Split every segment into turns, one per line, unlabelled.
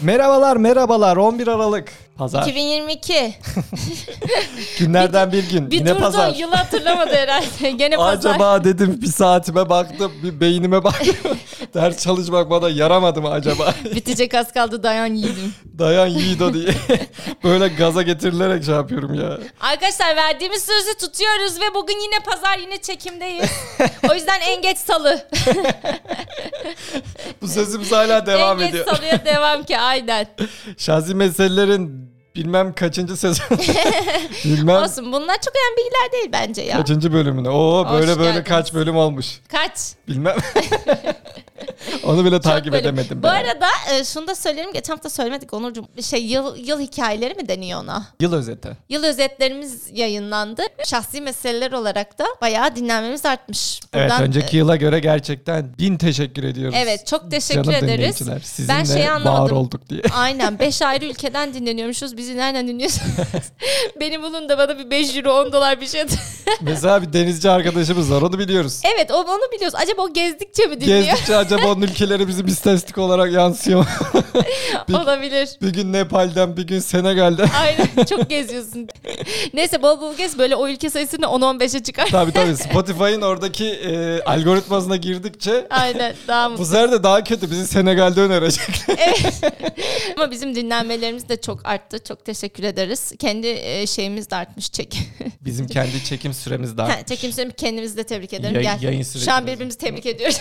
Merhabalar merhabalar 11 Aralık Pazar
2022.
günlerden bir gün
Bir
yine
durdun
pazar
yılı hatırlamadı herhalde. Gene pazar.
Acaba dedim bir saatime baktım bir beynime baktım ders çalışmak bana yaramadı mı acaba
Bitecek az kaldı dayan yiğidim.
dayan yiğido diye böyle gaza getirilerek şey yapıyorum ya.
Arkadaşlar verdiğimiz sözü tutuyoruz ve bugün yine pazar yine çekimdeyiz. o yüzden en geç salı.
Bu sözümüz hala devam
en
ediyor.
geç salıya devam ki aynen.
Şahsi meselelerin bilmem kaçıncı sezon bilmem
Olsun bunlar çok önemli bilgiler değil bence ya.
kaçıncı bölümüne. Oo
Hoş
böyle böyle
geldiniz.
kaç bölüm olmuş
Kaç?
bilmem. Onu bile
Çok
takip
bölüm.
edemedim.
Bu
ben.
arada e, şunu da söyleyelim. Geçen hafta söylemedik Onurcuğum. Şey yıl, yıl hikayeleri mi deniyor ona?
Yıl özeti.
Yıl özetlerimiz yayınlandı. Şahsi meseleler olarak da bayağı dinlenmemiz artmış.
Evet
Buradan, e,
önceki yıla göre gerçekten bin teşekkür ediyoruz.
Evet çok teşekkür
Canım
ederiz.
dinleyiciler, Sizinle
şeyi
bağır
anlamadım.
olduk diye.
Aynen 5 ayrı ülkeden dinleniyormuşuz. Bizi nereden dinliyorsunuz? Beni bulun da bana bir 5 euro 10 dolar bir şey.
Mesela bir denizci arkadaşımız var onu biliyoruz.
evet o- onu biliyoruz. Acaba o gezdikçe mi dinliyor?
Gezdikçe acaba onun ülkeleri bizim istatistik olarak yansıyor. mu? bir-
Olabilir.
bir gün Nepal'den bir gün Senegal'den.
Aynen çok geziyorsun. Neyse bol bol gez böyle o ülke sayısını 10-15'e çıkar.
tabii tabii Spotify'ın oradaki e, algoritmasına girdikçe
Aynen daha
bu
mutlu.
sefer de daha kötü bizi Senegal'de önerecek.
Ama bizim dinlenmelerimiz de çok arttı. Çok teşekkür ederiz. Kendi e, şeyimiz de artmış çek.
Bizim kendi çekim süremiz daha.
Ha, Çekimsizim kendimizi de tebrik ederim.
Yay-
Gel.
yayın
Şu an
sürecimiz.
birbirimizi tebrik ediyoruz.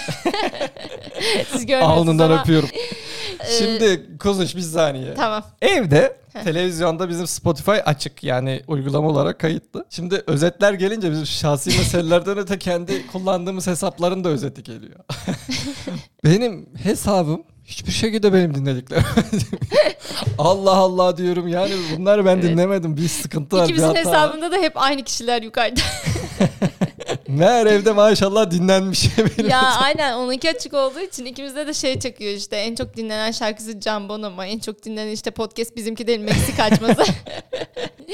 Siz görmüyorsunuz
Alnından
ama-
öpüyorum.
Ee,
Şimdi konuş bir saniye.
Tamam.
Evde televizyonda bizim Spotify açık yani uygulama olarak kayıtlı. Şimdi özetler gelince bizim şahsi meselelerden öte kendi kullandığımız hesapların da özeti geliyor. benim hesabım hiçbir şekilde benim dinlediklerim. Allah Allah diyorum yani bunları ben dinlemedim. Bir sıkıntı var. bir
İkimizin
hata var.
hesabında da hep aynı kişiler yukarıda.
Meğer evde maşallah dinlenmiş benim.
ya aynen onunki açık olduğu için ikimizde de şey çakıyor işte en çok dinlenen şarkısı Can Bonomo, en çok dinlenen işte podcast bizimki değil Meksika açması.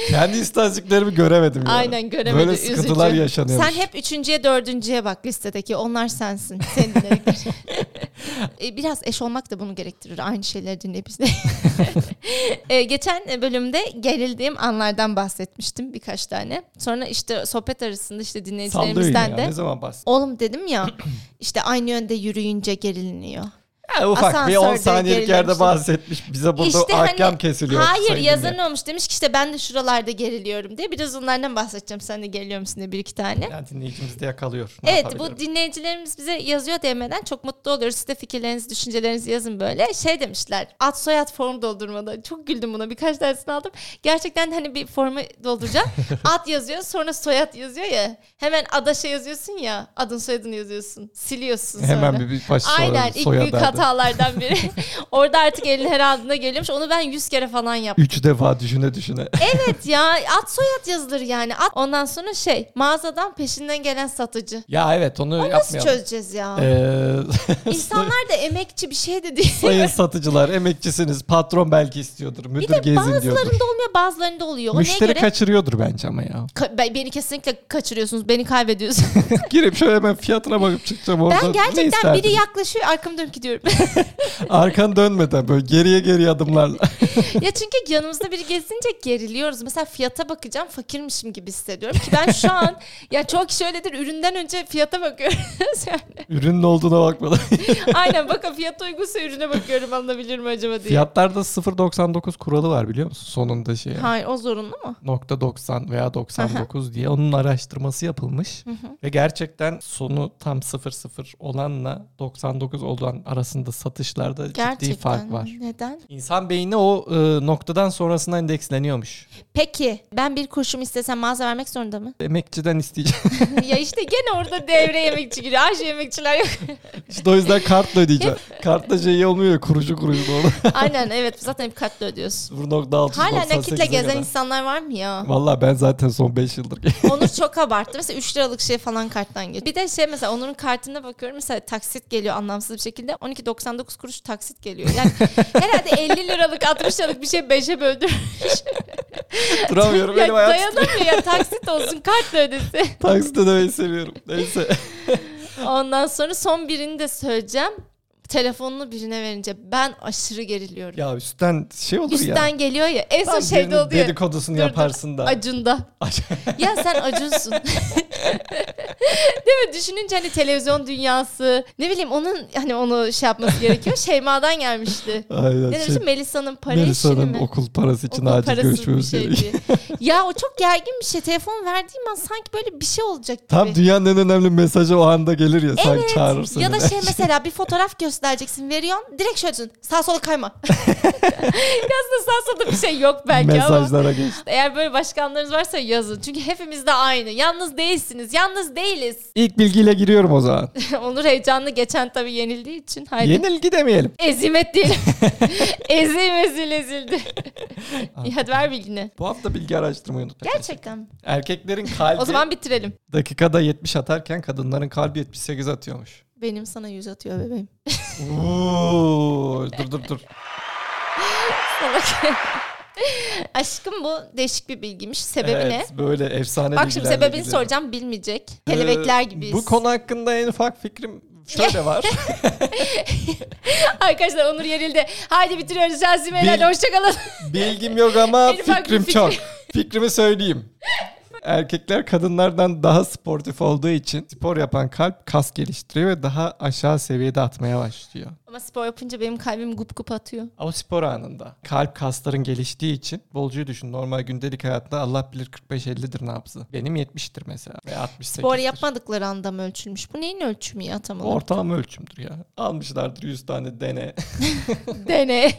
Kendi istatistiklerimi göremedim. yani.
aynen göremedi
Böyle sıkıntılar
üzücü.
yaşanıyor.
Sen hep üçüncüye dördüncüye bak listedeki onlar sensin. Senin dinlediklerin. E, Biraz eş olmak da bunu gerektirir aynı şeyleri dinleyip izle. E, geçen bölümde gerildiğim anlarden bahsetmiştim birkaç tane. Sonra işte sohbet arasında işte
Sallıyorum
dinleyicilerimizden
ya.
de
Ne zaman bahsediyorsun?
Oğlum dedim ya işte aynı yönde yürüyünce geriliniyor.
Ha, ufak bir 10
Asansörde
saniyelik yerde
gerilemiştim.
bahsetmiş. Bize burada
İşte hani-
ahkam kesiliyor.
Hayır
sayın
yazan
dinleyen.
olmuş demiş ki işte ben de şuralarda geriliyorum diye. Biraz onlardan bahsedeceğim sen de geriliyor musun diye bir iki tane.
Yani dinleyicimiz de yakalıyor. Ne
Evet
yapabilirim?
bu dinleyicilerimiz bize yazıyor DM'den çok mutlu oluyoruz. Siz de fikirlerinizi, düşüncelerinizi yazın böyle. Şey demişler ad soyad form doldurmada. Çok güldüm buna birkaç tanesini aldım. Gerçekten hani bir formu dolduracağım. ad yazıyor sonra soyad yazıyor ya. Hemen ada şey yazıyorsun ya. Adın soyadını yazıyorsun. Siliyorsun sonra.
Hemen bir, bir baş
Aynen ilk
soyadı.
büyük hatalardan biri. Orada artık elin her adına geliyormuş. Onu ben 100 kere falan yaptım.
Üç defa düşüne düşüne.
evet ya ad soyad yazılır yani. Ad. Ondan sonra şey mağazadan peşinden gelen satıcı.
ya evet onu
Nasıl
yapmayalım. E,
çözeceğiz ya?
Ee,
İnsanlar da emekçi bir şey de değil.
sayın satıcılar, emekçisiniz. Patron belki istiyordur.
bir
Müdür
de
gezin diyordur.
bazılarında olmuyor bazılarında oluyor. O
Müşteri
neye göre?
kaçırıyordur bence ama ya.
Ka- ben- beni kesinlikle kaçırıyorsunuz. Beni kaybediyorsunuz.
Girip şöyle hemen fiyatına bakıp çıkacağım orada.
ben
Ne
gerçekten
isterdin?
biri yaklaşıyor arkamı dönüp gidiyorum.
Arkan dönmeden böyle geriye geriye adımlarla.
ya çünkü yanımızda biri gezince geriliyoruz. Mesela fiyata bakacağım fakirmişim gibi hissediyorum ki ben şu an ya çok kişi öyledir üründen önce fiyata bakıyoruz. Yani
Ürünün olduğuna bakmadan.
aynen bakın fiyat uygunsa ürüne bakıyorum alınabilir mi acaba diye.
Fiyatlarda 0.99 kuralı var biliyor musun? Sonunda şey.
Hayır o zorunlu mu?
nokta 90 veya 99 diye onun araştırması yapılmış ve gerçekten sonu tam 00 olanla 99 olan arasında satışlarda ciddi
Gerçekten.
fark var.
Neden?
İnsan beyni o e, noktadan sonrasına endeksleniyormuş.
Peki ben bir kurşun istesem mağaza vermek zorunda mı?
Emekçiden isteyeceğim.
ya işte gene orada devre yemekçi giriyor. Her şey yemekçiler yok.
işte o yüzden kartla ödeyeceğim. kartla şey olmuyor ya, kuruşu kuruşu doğru.
Aynen evet zaten hep kartla ödüyorsun.
0.698
Hala nakitle gezen
kadar.
insanlar var mı ya?
Valla ben zaten son 5 yıldır.
Onur çok abarttı. Mesela 3 liralık şey falan karttan geliyor. Bir de şey mesela Onur'un kartına bakıyorum. Mesela taksit geliyor anlamsız bir şekilde. 12.99 kuruş taksit geliyor. Yani herhalde 50 liralık 60 liralık bir şey 5'e böldürmüş.
Duramıyorum.
ya
Benim hayatım
dayanamıyor ya taksit olsun kartla ödesi.
taksit ödemeyi seviyorum. Neyse.
Ondan sonra son birini de söyleyeceğim. telefonunu birine verince ben aşırı geriliyorum.
Ya üstten şey olur
Üstten
ya.
geliyor ya en son
Tam
şeyde
birinin
oluyor.
Dedikodusunu
Dur, dur.
yaparsın da. şey,
Acunda. Ya sen acunsun. Değil mi? Düşününce hani televizyon dünyası ne bileyim onun hani onu şey yapması gerekiyor. Şeyma'dan gelmişti.
Aynen.
Ne
Şey,
demişti? Melisa'nın para işini
Melisa'nın
mi?
okul parası için
Okul
acil
parası bir
görüşmemiz
şey
gerekiyor.
diye. ya o çok gergin bir şey. Telefon verdiğim an sanki böyle bir şey olacak gibi.
Tam dünyanın en önemli mesajı o anda gelir ya. Sen çağırırsın.
Ya da
hemen.
şey mesela bir fotoğraf göstereceksin veriyorsun direkt şöyle diyorsun sağ sola kayma. ya aslında sağ solda bir şey yok belki ama.
Mesajlara geç.
Eğer böyle başkanlarınız varsa yazın. Çünkü hepimiz de aynı. Yalnız değilsiniz. Yalnız değiliz.
İlk bilgiyle giriyorum o zaman.
Onur heyecanlı geçen tabii yenildiği için. Haydi.
Yenilgi demeyelim.
Ezimet değil. Ezim ezil ezildi. İyi, Hadi ver bilgini.
Bu hafta bilgi araştırmayı unutmayın.
Gerçekten. mi?
Erkeklerin kalbi
O zaman bitirelim.
dakikada 70 atarken kadınların kalbi 78 atıyormuş.
Benim sana yüz atıyor bebeğim.
Oo, dur dur dur.
Salak. Aşkım bu değişik bir bilgiymiş. Sebebi ne?
evet, Böyle efsane
Bak şimdi
bilgilerle
sebebini
geliyorum.
soracağım bilmeyecek. Kelebekler
Ee,
gibiyiz.
Bu konu hakkında en ufak fikrim şöyle var.
Arkadaşlar Onur yerildi. Haydi bitiriyoruz. Şahsi
Bil-
Hoşça hoşçakalın.
Bilgim yok ama
En ufak bir
fikrim
fikri.
çok. Fikrimi söyleyeyim. Erkekler kadınlardan daha sportif olduğu için spor yapan kalp kas geliştiriyor ve daha aşağı seviyede atmaya başlıyor.
Ama spor yapınca benim kalbim gup gup atıyor.
Ama spor anında kalp kasların geliştiği için bolcuyu düşün. Normal gündelik hayatta Allah bilir 45-50'dir nabzı. Benim 70'tir mesela ve 68'tir.
Spor yapmadıkları anda mı ölçülmüş? Bu neyin ölçümü ya tam olarak?
Ortalama ölçümdür ya. Almışlardır 100 tane dene.
Dene.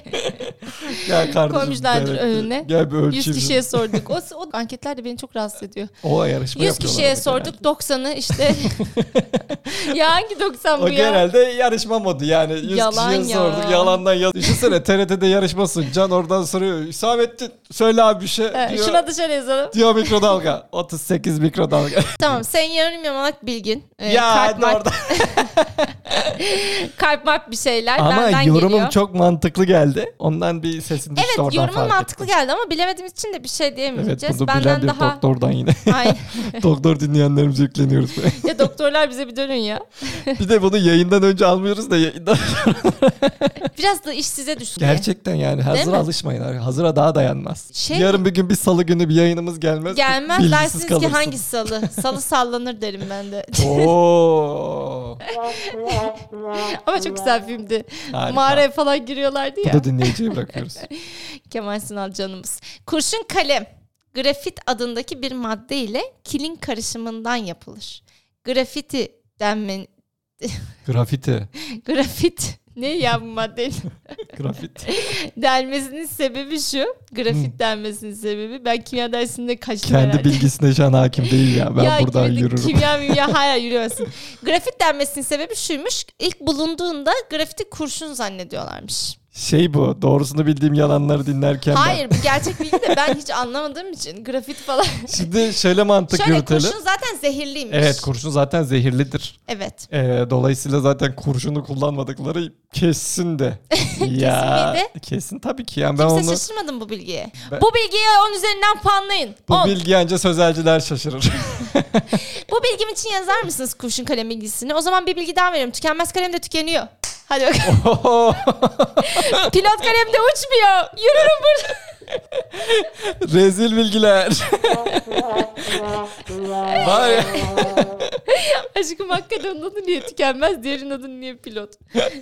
Gel kardeşim.
Koymuşlardır
dene.
önüne.
Gel bir ölçeyim.
100 kişiye sorduk. O, o anketler de beni çok rahatsız ediyor.
o yarışma
100
yapıyorlar
kişiye
ama
sorduk 90'ı işte. ya hangi 90 bu
O
ya?
genelde yarışma modu yani 100
Yalan
kişiye
ya.
sorduk yalandan yaz. Düşünsene TRT'de yarışmasın Can oradan soruyor. Hüsamettin söyle abi bir şey
Evet,
diyor.
Şuna dışarı yazalım.
Diyor mikrodalga. 38 mikrodalga.
Tamam sen yarım yamalak bilgin. Ee,
ya
kalp,
de
mark-
orada.
kalp mark bir şeyler
Ama
benden
yorumum
geliyor.
çok mantıklı geldi. Ondan bir sesin düştü
Evet
oradan
yorumun
fark
mantıklı
ettim.
geldi ama bilemediğimiz için de bir şey diyemeyeceğiz.
Evet bunu bilen
Benden
bir
daha...
doktordan yine.
Ay,
Doktor dinleyenlerimize yükleniyoruz.
ya doktorlar bize bir dönün ya.
bir de bunu yayından önce almıyoruz da yayından.
Biraz da iş size düşsün diye.
Gerçekten yani hazır
mi?
alışmayın. Hazıra daha dayanmaz.
Şey-
Yarın bir gün bir salı günü bir yayınımız gelmez.
Gelmez
bilgisiz
dersiniz ki
kalırsın.
hangi salı? Salı sallanır derim ben de.
Oo.
Ama çok güzel filmdi.
Harika.
Mağaraya falan giriyorlardı
Bu
ya.
da dinleyiciye bırakıyoruz.
Kemal Sunal canımız. Kurşun kalem. Grafit adındaki bir madde ile kilin karışımından yapılır. Grafiti denmen...
Grafiti.
Grafit ne ya bu maddenin
Grafit.
denmesinin sebebi şu. Grafit denmesinin sebebi. Ben kimya dersinde kaçtım
Kendi
herhalde.
bilgisine şu an hakim değil ya. Ben
ya
buradan
kimya-
yürürüm.
Kimya mimya hala yürüyorsun. Grafit denmesinin sebebi şuymuş. İlk bulunduğunda grafiti kurşun zannediyorlarmış.
Şey bu. Doğrusunu bildiğim yalanları dinlerken
Hayır bu gerçek bilgi de ben hiç anlamadığım için grafit falan.
ben. Şimdi şöyle mantık
Şöyle
yürütelim.
kurşun zaten zehirliymiş.
Evet kurşun zaten zehirlidir.
Evet.
Ee, dolayısıyla zaten kurşunu kullanmadıkları kesin de.
miydi?
Kesin tabii ki. Yani ben
Kimse
onu
şaşırmadım bu bilgiye.
Ben-
Bu bilgiye 10 üzerinden puanlayın.
bu
10.
bilgi anca sözelciler şaşırır.
bu bilgim için yazar mısınız kurşun kalem bilgisini? O zaman bir bilgi daha veriyorum. Tükenmez kalem de tükeniyor. Hadi bakalım. Pilot kalem de uçmuyor. Yürürüm burada.
Rezil bilgiler. Vay.
Aşkım hakikaten onun adı niye tükenmez? Diğerinin adı niye pilot?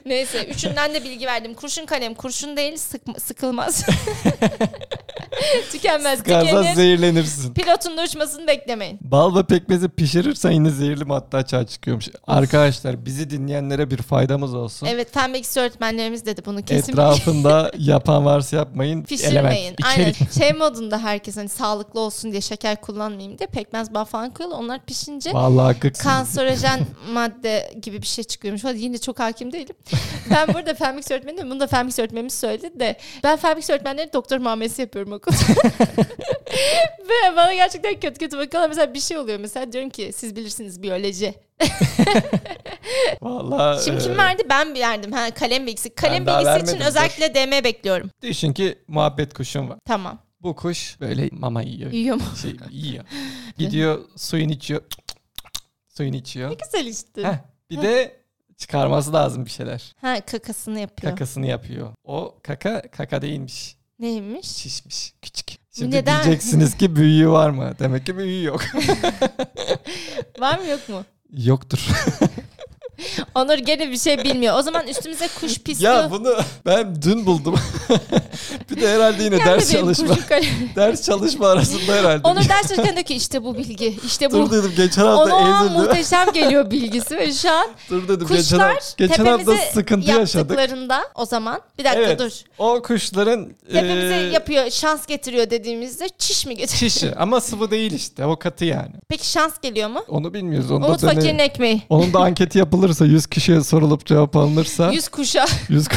Neyse. Üçünden de bilgi verdim. Kurşun kalem kurşun değil sıkma- sıkılmaz. tükenmez.
Gazdan
Tükenir.
zehirlenirsin.
Pilotun da uçmasını beklemeyin.
Bal ve pekmezi pişirirsen yine zehirli madde açığa çıkıyormuş. Arkadaşlar bizi dinleyenlere bir faydamız olsun.
Evet fen bilgisi öğretmenlerimiz dedi bunu kesin.
Etrafında yapan varsa yapmayın.
Pişirmeyin.
Element,
Aynen.
içerik.
Şey modunda herkes hani sağlıklı olsun diye şeker kullanmayayım diye pekmez bal falan koyuyorlar. Onlar pişince
Vallahi haklısın.
kanserojen madde gibi bir şey çıkıyormuş. Hadi yine çok hakim değilim. Ben burada fen bilgisi öğretmeniyim. Bunu da fen bilgisi öğretmenimiz söyledi de. Ben fen bilgisi öğretmenleri doktor muamelesi yapıyorum okulda. Ve bana gerçekten kötü kötü bakıyorlar. Mesela bir şey oluyor. Mesela diyorum ki siz bilirsiniz biyoloji.
Vallahi.
Şimdi
e,
kim verdi? Ben verdim. Ha, kalem bilgisi.
Ben
Kalem
daha
bilgisi için
vermedim, dur.
özellikle DM bekliyorum.
Düşün ki muhabbet kuşun var.
Tamam.
Bu kuş böyle mama yiyor.
Yiyorum.
Şey, yiyor. Gidiyor suyun içiyor. Suyun içiyor.
Güzel işte.
Heh, bir de Çıkarması lazım bir şeyler.
Ha kakasını yapıyor.
Kakasını yapıyor. O kaka kaka değilmiş.
Neymiş?
Şişmiş. Küçük. Şimdi
Neden?
diyeceksiniz ki büyüğü var mı? Demek ki büyüğü yok.
Var mı yok mu?
Yoktur.
Onur gene bir şey bilmiyor. O zaman üstümüze kuş pisliği.
ya bunu ben dün buldum. bir de herhalde yine
Gel
ders
bebeğim,
çalışma.
kuşu kale-
ders çalışma arasında herhalde.
Onur ders çalışırken diyor ki işte bu bilgi. işte bu.
Dur dedim geçen
Ona o
hafta
an
ezildi.
muhteşem geliyor bilgisi ve şu an
Dur dedim geçen,
kuşlar
hafta- geçen hafta
tepemize
sıkıntı yaşadık.
yaptıklarında o zaman bir dakika
Evet. e-
dur.
O kuşların
Tepemize
eee,
yapıyor şans getiriyor dediğimizde çiş mi getiriyor?
şişi ama sıvı değil işte o katı yani.
Peki şans geliyor mu?
Onu bilmiyoruz. Onu
Umut
da deneyelim.
fakirin ekmeği.
Onun da anketi yapılırsa 100 kişiye sorulup cevap alınırsa
Yüz kuşa.
100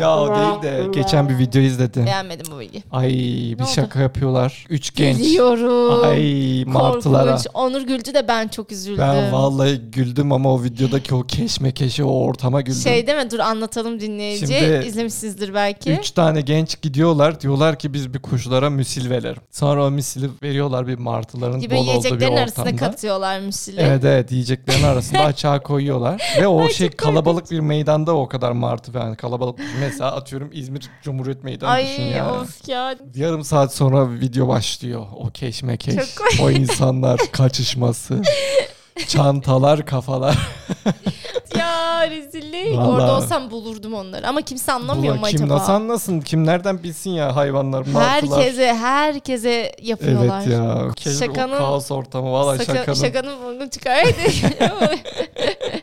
Ya o değil de geçen bir video izledim.
Beğenmedim bu bilgi.
Ay
Ne
bir
oldu?
şaka yapıyorlar. Üç genç.
Biliyorum.
Ay martılara.
Korkunç. Onur güldü de ben çok üzüldüm.
Ben vallahi güldüm ama o videodaki o keşmekeşe o ortama güldüm.
Şey değil mi? Dur anlatalım dinleyici.
Şimdi-
İzlemişsinizdir belki.
Üç tane genç gidiyorlar. Diyorlar ki biz bir kuşlara müsil verelim. Sonra o misili veriyorlar bir martıların
gibi
bol olduğu bir
yiyeceklerin arasına
ortamda.
katıyorlar misili.
Evet evet yiyeceklerin arasında açığa koyuyorlar. Ve o şey kalabalık bir meydanda o kadar martı yani kalabalık. Mesela atıyorum İzmir Cumhuriyet Meydanı düşün
Ay
yani.
of ya.
Yarım saat sonra video başlıyor. O keşmekeş,
Çok
o insanlar kaçışması, çantalar, kafalar.
Ya rezillik.
Vallahi.
Orada olsam bulurdum onları. Ama kimse anlamıyor
Ulan
mu
kim
acaba?
nasıl anlasın? Kim nereden bilsin ya hayvanlar, martılar.
herkese, herkese yapıyorlar.
Evet ya. Şakanın...
Şakanın-
O kaos ortamı. Valla
Şaka-
şakanın.
şakanın bunu çıkardı.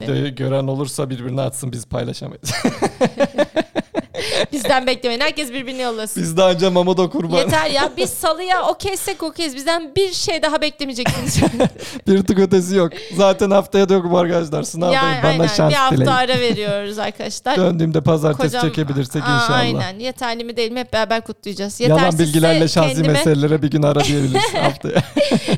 Videoyu gören olursa birbirine atsın biz paylaşamayız.
Bizden beklemeyin. Herkes birbirini yollasın.
biz daha önce Mamodo kurban.
Yeter ya biz salıya okeysek okeyiz. Bizden bir şey daha beklemeyeceksiniz.
Bir tık ötesi yok. Zaten haftaya da yokum arkadaşlar. Sınavdayım.
yani
Bana
aynen
şans
bir hafta
dileyin.
ara veriyoruz arkadaşlar.
Döndüğümde pazartesi
Kocam-
çekebilirsek
Aa,
inşallah.
Aynen yeterli mi değil mi hep beraber kutlayacağız.
Yalan
Yetersizse
bilgilerle şahsi
kendime-
meselelere bir gün ara diyebiliriz haftaya.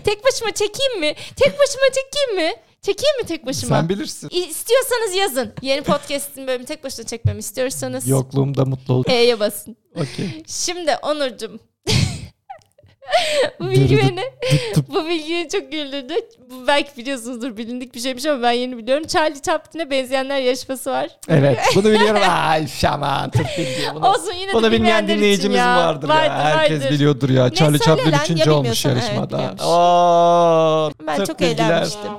Tek başıma çekeyim mi? Tek başıma çekeyim mi? Çekeyim mi tek başıma?
Sen bilirsin.
İstiyorsanız yazın. Yeni podcast'in bölümü tek başına çekmemi istiyorsanız.
Yokluğumda mutlu ol.
E'ye basın.
Okey.
Şimdi Onurcuğum. bu bilgi
Dırıdı-
beni, bu bilgiyi çok güldürdü. Bu belki biliyorsunuzdur bilindik bir şeymiş ama ben yeni biliyorum. Charlie Chaplin'e benzeyenler yarışması var.
Evet. Bunu biliyorum. Ay şaman. Türk bilgi. Bunu,
Olsun yine
bunu bilmeyen
de bilmeyenler için
dinleyicimiz
ya.
vardır, ya. Herkes
vardır.
biliyordur ya. Charlie
söyle
Chaplin
lan,
üçüncü
ya
olmuş
bilmiyorsan, evet,
yarışmada.
biliyormuş.
Oo,
Ben
Türk
çok
bilgiler.
eğlenmiştim.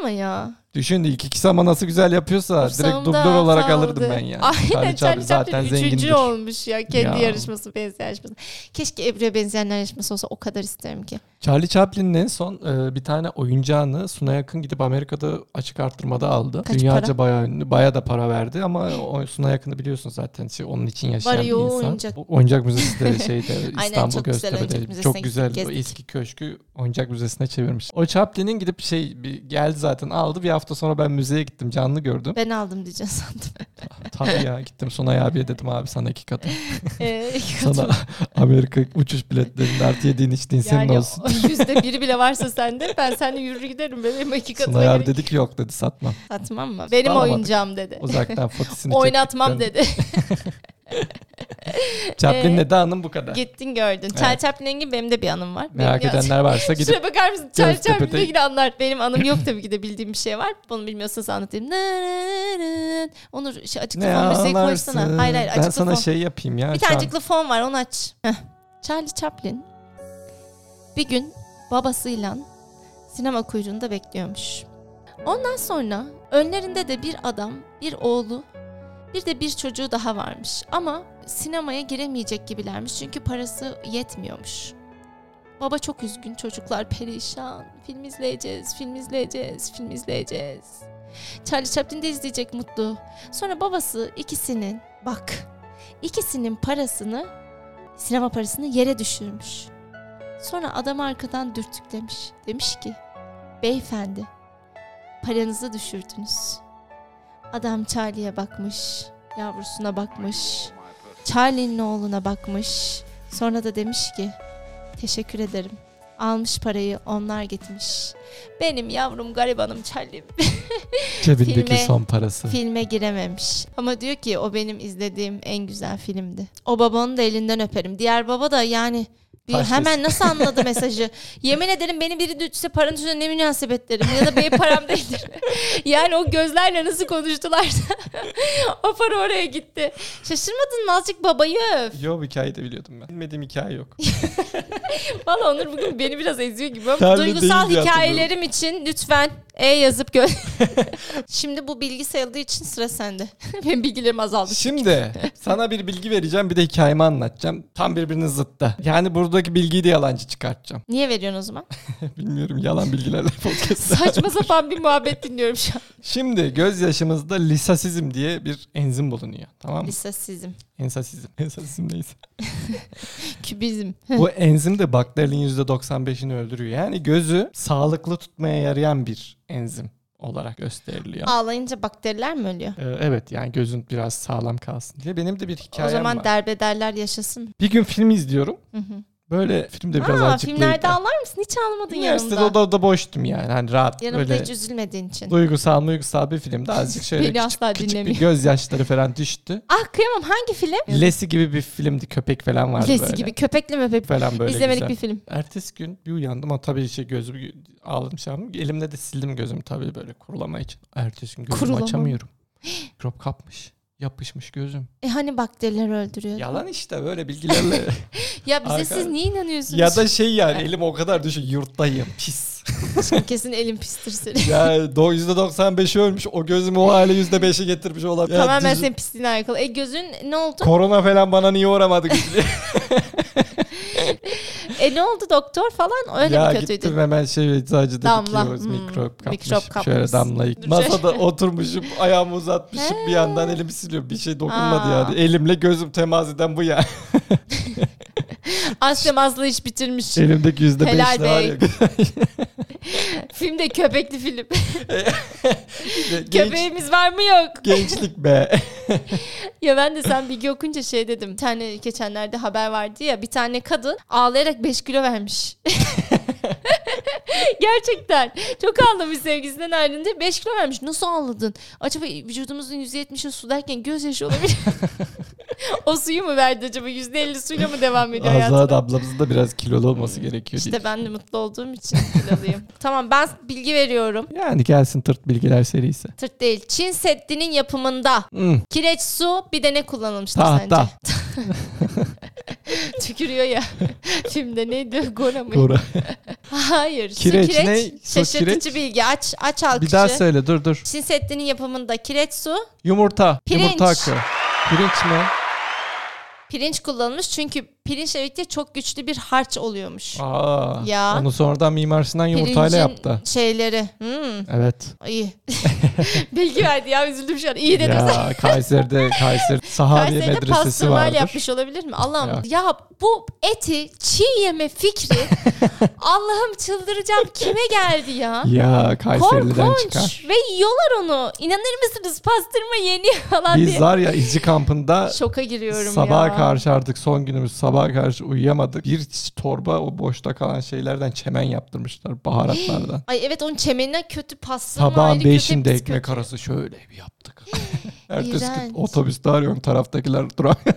Ama ya.
Düşün ilk ikisi ama nasıl güzel yapıyorsa direkt
Sağımda,
dublör olarak
sağımda.
alırdım ben yani.
Aynen Charlie
zaten
Chaplin
zengindir.
üçüncü olmuş ya kendi
Ya.
yarışması benzer yarışması. Keşke Ebru'ya benzeyenler yarışması olsa o kadar isterim ki.
Charlie Chaplin'in en son e, bir tane oyuncağını Suna Yakın gidip Amerika'da açık arttırmada aldı.
Kaç
Dünyaca
para?
bayağı ünlü. Bayağı da para verdi ama o Suna Yakın'ı biliyorsun zaten. Şey, onun için yaşayan
Var ya
bir
o
insan.
oyuncak.
Bu oyuncak müzesi de şeyde
Aynen,
İstanbul
çok güzel oyuncak
Göztepe'de.
müzesine
Çok
gittik,
güzel. O
gezdik.
eski köşkü oyuncak müzesine çevirmiş. O Chaplin'in gidip şey bir geldi zaten aldı. Bir hafta sonra ben müzeye gittim. Canlı gördüm.
Ben aldım diyeceğim sandım.
Tabii ya gittim Sunay abiye dedim abi sana iki katı.
Ee, iki katı.
Sana Amerika uçuş biletlerinin artı yediğin içtiğin senin
yani
olsun.
o yüzde biri bile varsa sende ben seninle yürür giderim benim iki katıma
Sunay abi
gerek
dedi ki yok dedi satmam.
satmam mı? Benim
Alamadık.
oyuncağım dedi.
Uzaktan fotisini
Oynatmam
çektikten-
dedi.
Chaplin
Ee,
Neda Hanım bu kadar.
Gittin gördün.
Evet.
Charlie Chaplin'e ilgili benim de bir anım var.
Merak
Benim de-
edenler varsa gidip
Şuraya bakar mısın? Charlie
Göztepe'de-
Chaplin'le ilgili anlar. Benim anım yok tabii ki de bildiğim bir şey var. Bunu bilmiyorsanız anlatayım. Nırırırın. Onur şu açıklı
ne
fon müziği
anlarsın.
şey koysana. Hayır hayır açıklı
ben sana
fon.
şey yapayım ya.
bir
şu
tane
an.
açıklı fon var onu aç. Heh. Charlie Chaplin bir gün babasıyla sinema kuyruğunda bekliyormuş. Ondan sonra önlerinde de bir adam, bir oğlu, bir de bir çocuğu daha varmış. Ama sinemaya giremeyecek gibilermiş çünkü parası yetmiyormuş. Baba çok üzgün, çocuklar perişan. Film izleyeceğiz, film izleyeceğiz, film izleyeceğiz. Charlie Chaplin de izleyecek mutlu. Sonra babası ikisinin, bak, ikisinin parasını, sinema parasını yere düşürmüş. Sonra adamı arkadan dürtüklemiş. Demiş ki, beyefendi, paranızı düşürdünüz. Adam Charlie'ye bakmış, yavrusuna bakmış, Charlie'nin oğluna bakmış. Sonra da demiş ki, teşekkür ederim. Almış parayı onlar gitmiş. Benim yavrum garibanım Charlie
Cebindeki
Filme-
son parası.
filme girememiş. Ama diyor ki o benim izlediğim en güzel filmdi. O babanın da elinden öperim. Diğer baba da yani bir
Taş
hemen nasıl anladı mesajı? Yemin ederim beni biri düşse paranın üstüne ne münasebet derim ya da benim param değildir. yani o gözlerle nasıl konuştular da o para oraya gitti. Şaşırmadın mı azıcık babayı öv.
Yo bu hikayeyi de biliyordum ben. Bilmediğim hikaye yok.
Valla Onur bugün beni biraz eziyor gibi ama
Terli
duygusal
değil diye
hikayelerim için lütfen E yazıp gö Şimdi bu bilgi sayıldığı için sıra sende. Benim bilgilerim azaldı.
Şimdi sana bir bilgi vereceğim bir de hikayemi anlatacağım. Tam birbirinin zıttı. Yani buradaki bilgiyi de yalancı çıkartacağım.
Niye veriyorsun o zaman?
Bilmiyorum yalan bilgilerle podcast.
Saçma sapan bir muhabbet dinliyorum şu an.
Şimdi gözyaşımızda lisasizm diye bir enzim bulunuyor. Tamam mı?
Lisasizm,
Ensasizm. Ensasizm neyse.
kübizm.
Bu enzim de bakterinin %95'ini öldürüyor. Yani gözü sağlıklı tutmaya yarayan bir enzim olarak gösteriliyor.
Ağlayınca bakteriler mi ölüyor?
Ee, evet yani gözün biraz sağlam kalsın diye. Benim de bir hikayem
o zaman
var.
derbederler yaşasın.
Bir gün film izliyorum.
Hı hı.
Böyle filmde biraz
Aa,
açıklayayım.
filmlerde ağlar mısın? Hiç ağlamadın
Üniversitede
yanımda.
odada boştum yani. Hani rahat
Yanımda
böyle
hiç üzülmediğin için.
duygusal duygusal bir filmde azıcık şöyle
Beni
küçük,
asla
küçük bir
dinlemiyor.
gözyaşları falan düştü.
Ah kıyamam hangi film?
Lesi gibi bir filmdi köpek falan vardı
Lesi
böyle.
gibi köpekli möpek.
falan böyle güzel.
İzlemelik bir film.
Ertesi gün bir uyandım ama tabii şey gözüm ağladım şey yaptım. Elimle de sildim gözümü tabii böyle kurulama için. Ertesi gün gözümü
Kurulama.
açamıyorum. Mikrop kapmış. Yapışmış gözüm.
E hani bakteriler öldürüyor.
Yalan işte böyle bilgilerle.
Ya bize
Arka-
siz niye inanıyorsunuz?
ya da şey yani elim o kadar düşük yurttayım pis.
kesin elin pistir seni.
Ya do- %95'i ölmüş. O gözümü o hale %5'e getirmiş olabilir. Ya
Tamamen
düz-
senin pisliğine alakalı. E gözün ne oldu?
Korona falan bana niye uğramadı?
E ne oldu doktor falan? Öyle
ya
mi kötüydü?
gittim hemen şey eczacı dedi ki
Damla.
"Yavuz,
Hmm,
mikrop kapmış.
mikrop kapmış.
Şöyle damlayı.
Dur,
Masada oturmuşum ayağımı uzatmışım bir yandan elimi siliyorum. Bir şey dokunmadı
Aa.
yani. Elimle gözüm temas eden bu ya.
Asya mazlı iş bitirmiş.
Elimdeki yüzde beş
Helal
var ya.
bey. Filmde köpekli film.
Genç,
Köpeğimiz var mı yok?
gençlik be.
Ya ben de sen bilgi okunca şey dedim. Bir tane geçenlerde haber vardı ya. Bir tane kadın ağlayarak 5 kilo vermiş. Gerçekten. Çok ağlamış sevgisinden ayrılınca 5 kilo vermiş. Nasıl ağladın? Acaba vücudumuzun %70'i su derken gözyaşı olabilir. o suyu mu verdi acaba? %50 suyla mı devam ediyor hayatına?
Azad ablamızın da biraz kilolu olması gerekiyor. diye.
Hmm. İşte ben de mutlu olduğum için kiloluyum. tamam ben bilgi veriyorum.
Yani gelsin tırt bilgiler serisi.
Tırt değil. Çin Seddi'nin yapımında
Hmm.
Kireç su bir de ne kullanılmıştır sence?
Tahta.
Tükürüyor ya. Filmde neydi? Gora mı?
Doğru.
Hayır. Su
Kireç
Kireç,
ne? Su
Şaşırtıcı
kireç.
bilgi. Aç, aç
Bir
alkışı.
daha söyle dur dur.
Çin Seddi'nin yapımında kireç su,
Yumurta.
Pirinç.
Yumurta hakkı. Pirinç mi?
pirinç kullanılmış. Çünkü pirinçle birlikte çok güçlü bir harç oluyormuş.
Aa,
Ya.
Onu sonradan Mimar Sinan yumurtayla
Pirincin
yaptı.
şeyleri. Hmm,
Evet.
iyi. bilgi verdi ya üzüldüm şu an. İyi dedim.
Ya Kayseri'de Kayseri Sahabiye
Kayseri'de
Medresesi
pastırmayla
vardır.
yapmış olabilir mi? Allah'ım
Yok.
ya bu eti çiğ yeme fikri Allah'ım çıldıracağım kime geldi ya?
Ya Kayseri'den çıkar.
Korkunç ve yiyorlar onu. İnanır mısınız pastırma yeniyor falan
Biz
diye.
var ya izci kampında
Şoka giriyorum
sabaha
ya.
karşı artık son günümüz sabaha karşı uyuyamadık. Bir torba o boşta kalan şeylerden çemen yaptırmışlar baharatlardan.
Ay evet onun çemenine kötü pastırma
Sabahın
ayrı kötü
beşinde
hepsi
ekmek
kötü.
arası şöyle bir yaptık. Ertesi gün
İğrenç.
otobüste arıyorum taraftakiler durak.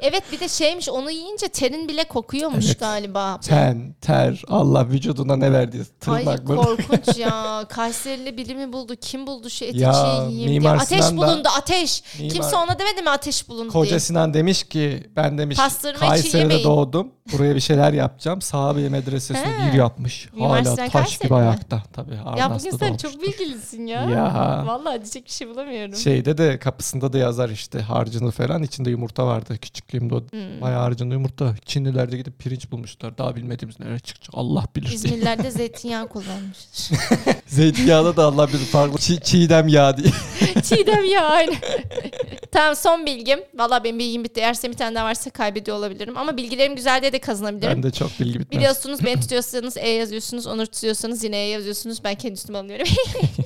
Evet bir de şeymiş onu yiyince terin bile kokuyormuş
Evet.
galiba.
Ten, ter, Allah vücuduna ne verdiyse
Ay
tırnak mı?
korkunç ya. Kayserili biri mi buldu? Kim buldu şu eti
Ya,
çiğ yiyeyim diye.
Mimar
Ateş
Sinan da-
bulundu ateş.
Mimar-
Kimse ona demedi mi ateş bulundu
Koca
diye.
Sinan demiş ki ben demiş
Pastırma için
Kayseri'de
yemeyin.
doğdum. Buraya bir şeyler yapacağım. Sahabiye medresesine
He.
bir yapmış.
Mimar
Hala
Sinan
taş
Kayseri
gibi
mi?
ayakta. Tabii
Ya
Arnas'ta
bugün sen
doğmuştur.
çok bilgilisin ya.
Ya.
Vallahi diyecek bir şey bulamıyorum.
Şeyde de kapısında da yazar işte harcını falan içinde yumurta vardı küçüklüğümde o
Hmm.
bayağı harcında yumurta. Çinliler de gidip pirinç bulmuşlar. Daha bilmediğimiz nereye çıkacak Allah bilir. diye.
İzmirlerde zeytinyağı kullanmış.
Zeytinyağda da Allah bilir farklı çi- çiğdem yağı diye.
Çiğdem ya aynı. tamam son bilgim. Valla benim bilgim bitti. Eğer senin bir tane daha varsa kaybediyor olabilirim. Ama bilgilerim güzel diye de kazanabilirim.
ben de çok bilgi bitmez.
Biliyorsunuz beni tutuyorsanız E yazıyorsunuz. Onur tutuyorsanız yine E yazıyorsunuz. Ben kendi üstüme alıyorum.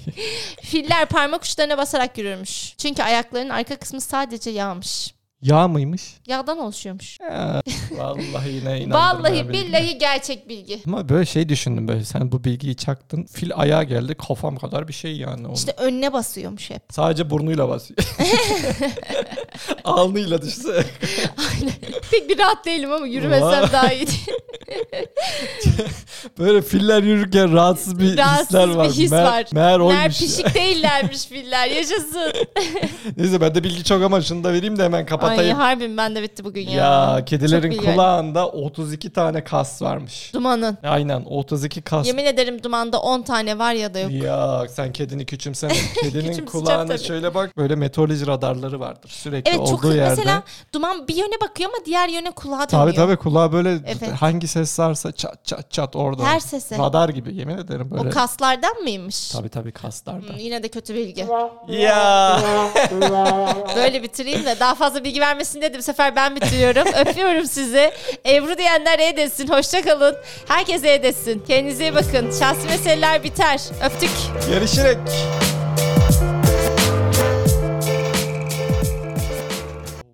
Filler parmak uçlarına basarak yürürmüş. Çünkü ayaklarının arka kısmı sadece yağmış.
Yağ mıymış?
Yağdan oluşuyormuş.
Ya, vallahi yine inandım.
Vallahi billahi gerçek bilgi.
Ama böyle şey düşündüm böyle sen bu bilgiyi çaktın fil ayağa geldi kafam kadar bir şey yani. Onun.
İşte önüne basıyormuş hep.
Sadece burnuyla basıyor. Alnıyla düşse.
Pek bir rahat değilim ama yürümesem
Vay.
daha iyi.
Böyle filler yürürken rahatsız bir
Rahatsız
hisler var.
bir his
Meğer-
var.
Meğer
Meğer
oymuş.
pişik değillermiş filler. Yaşasın.
Neyse ben de bilgi çok ama şunu da vereyim de hemen
Ay
kapatayım.
harbim ben de bitti bugün ya.
ya,
Çok
kedilerin
bilgi verdim.
kulağında 32 tane kas varmış.
Dumanın.
Aynen 32 kas.
Yemin ederim dumanda 10 tane var ya da yok.
Ya sen kedini küçümsene. Kedinin
Küçümseyeceğim
kulağına
tabii.
şöyle bak böyle meteoroloji radarları vardır sürekli
Evet çok
olduğu yerde.
mesela duman bir yöne bakıyor ama diğer yöne kulağa dönüyor.
Tabii tabii kulağa böyle
Evet.
hangi ses varsa çat çat çat orada.
Her sese.
Radar gibi yemin ederim böyle.
O kaslardan mıymış?
Tabii tabii kaslarda.
Hmm, Yine de kötü bilgi.
Ya.
Böyle bitireyim de daha fazla bilgi vermesin dedim. Bu sefer ben bitiriyorum. Öpüyorum sizi. Ebru diyenler E desin. Hoşçakalın. Herkes E desin. Kendinize iyi bakın. Şahsi meseleler biter. Öptük.
Görüşürük.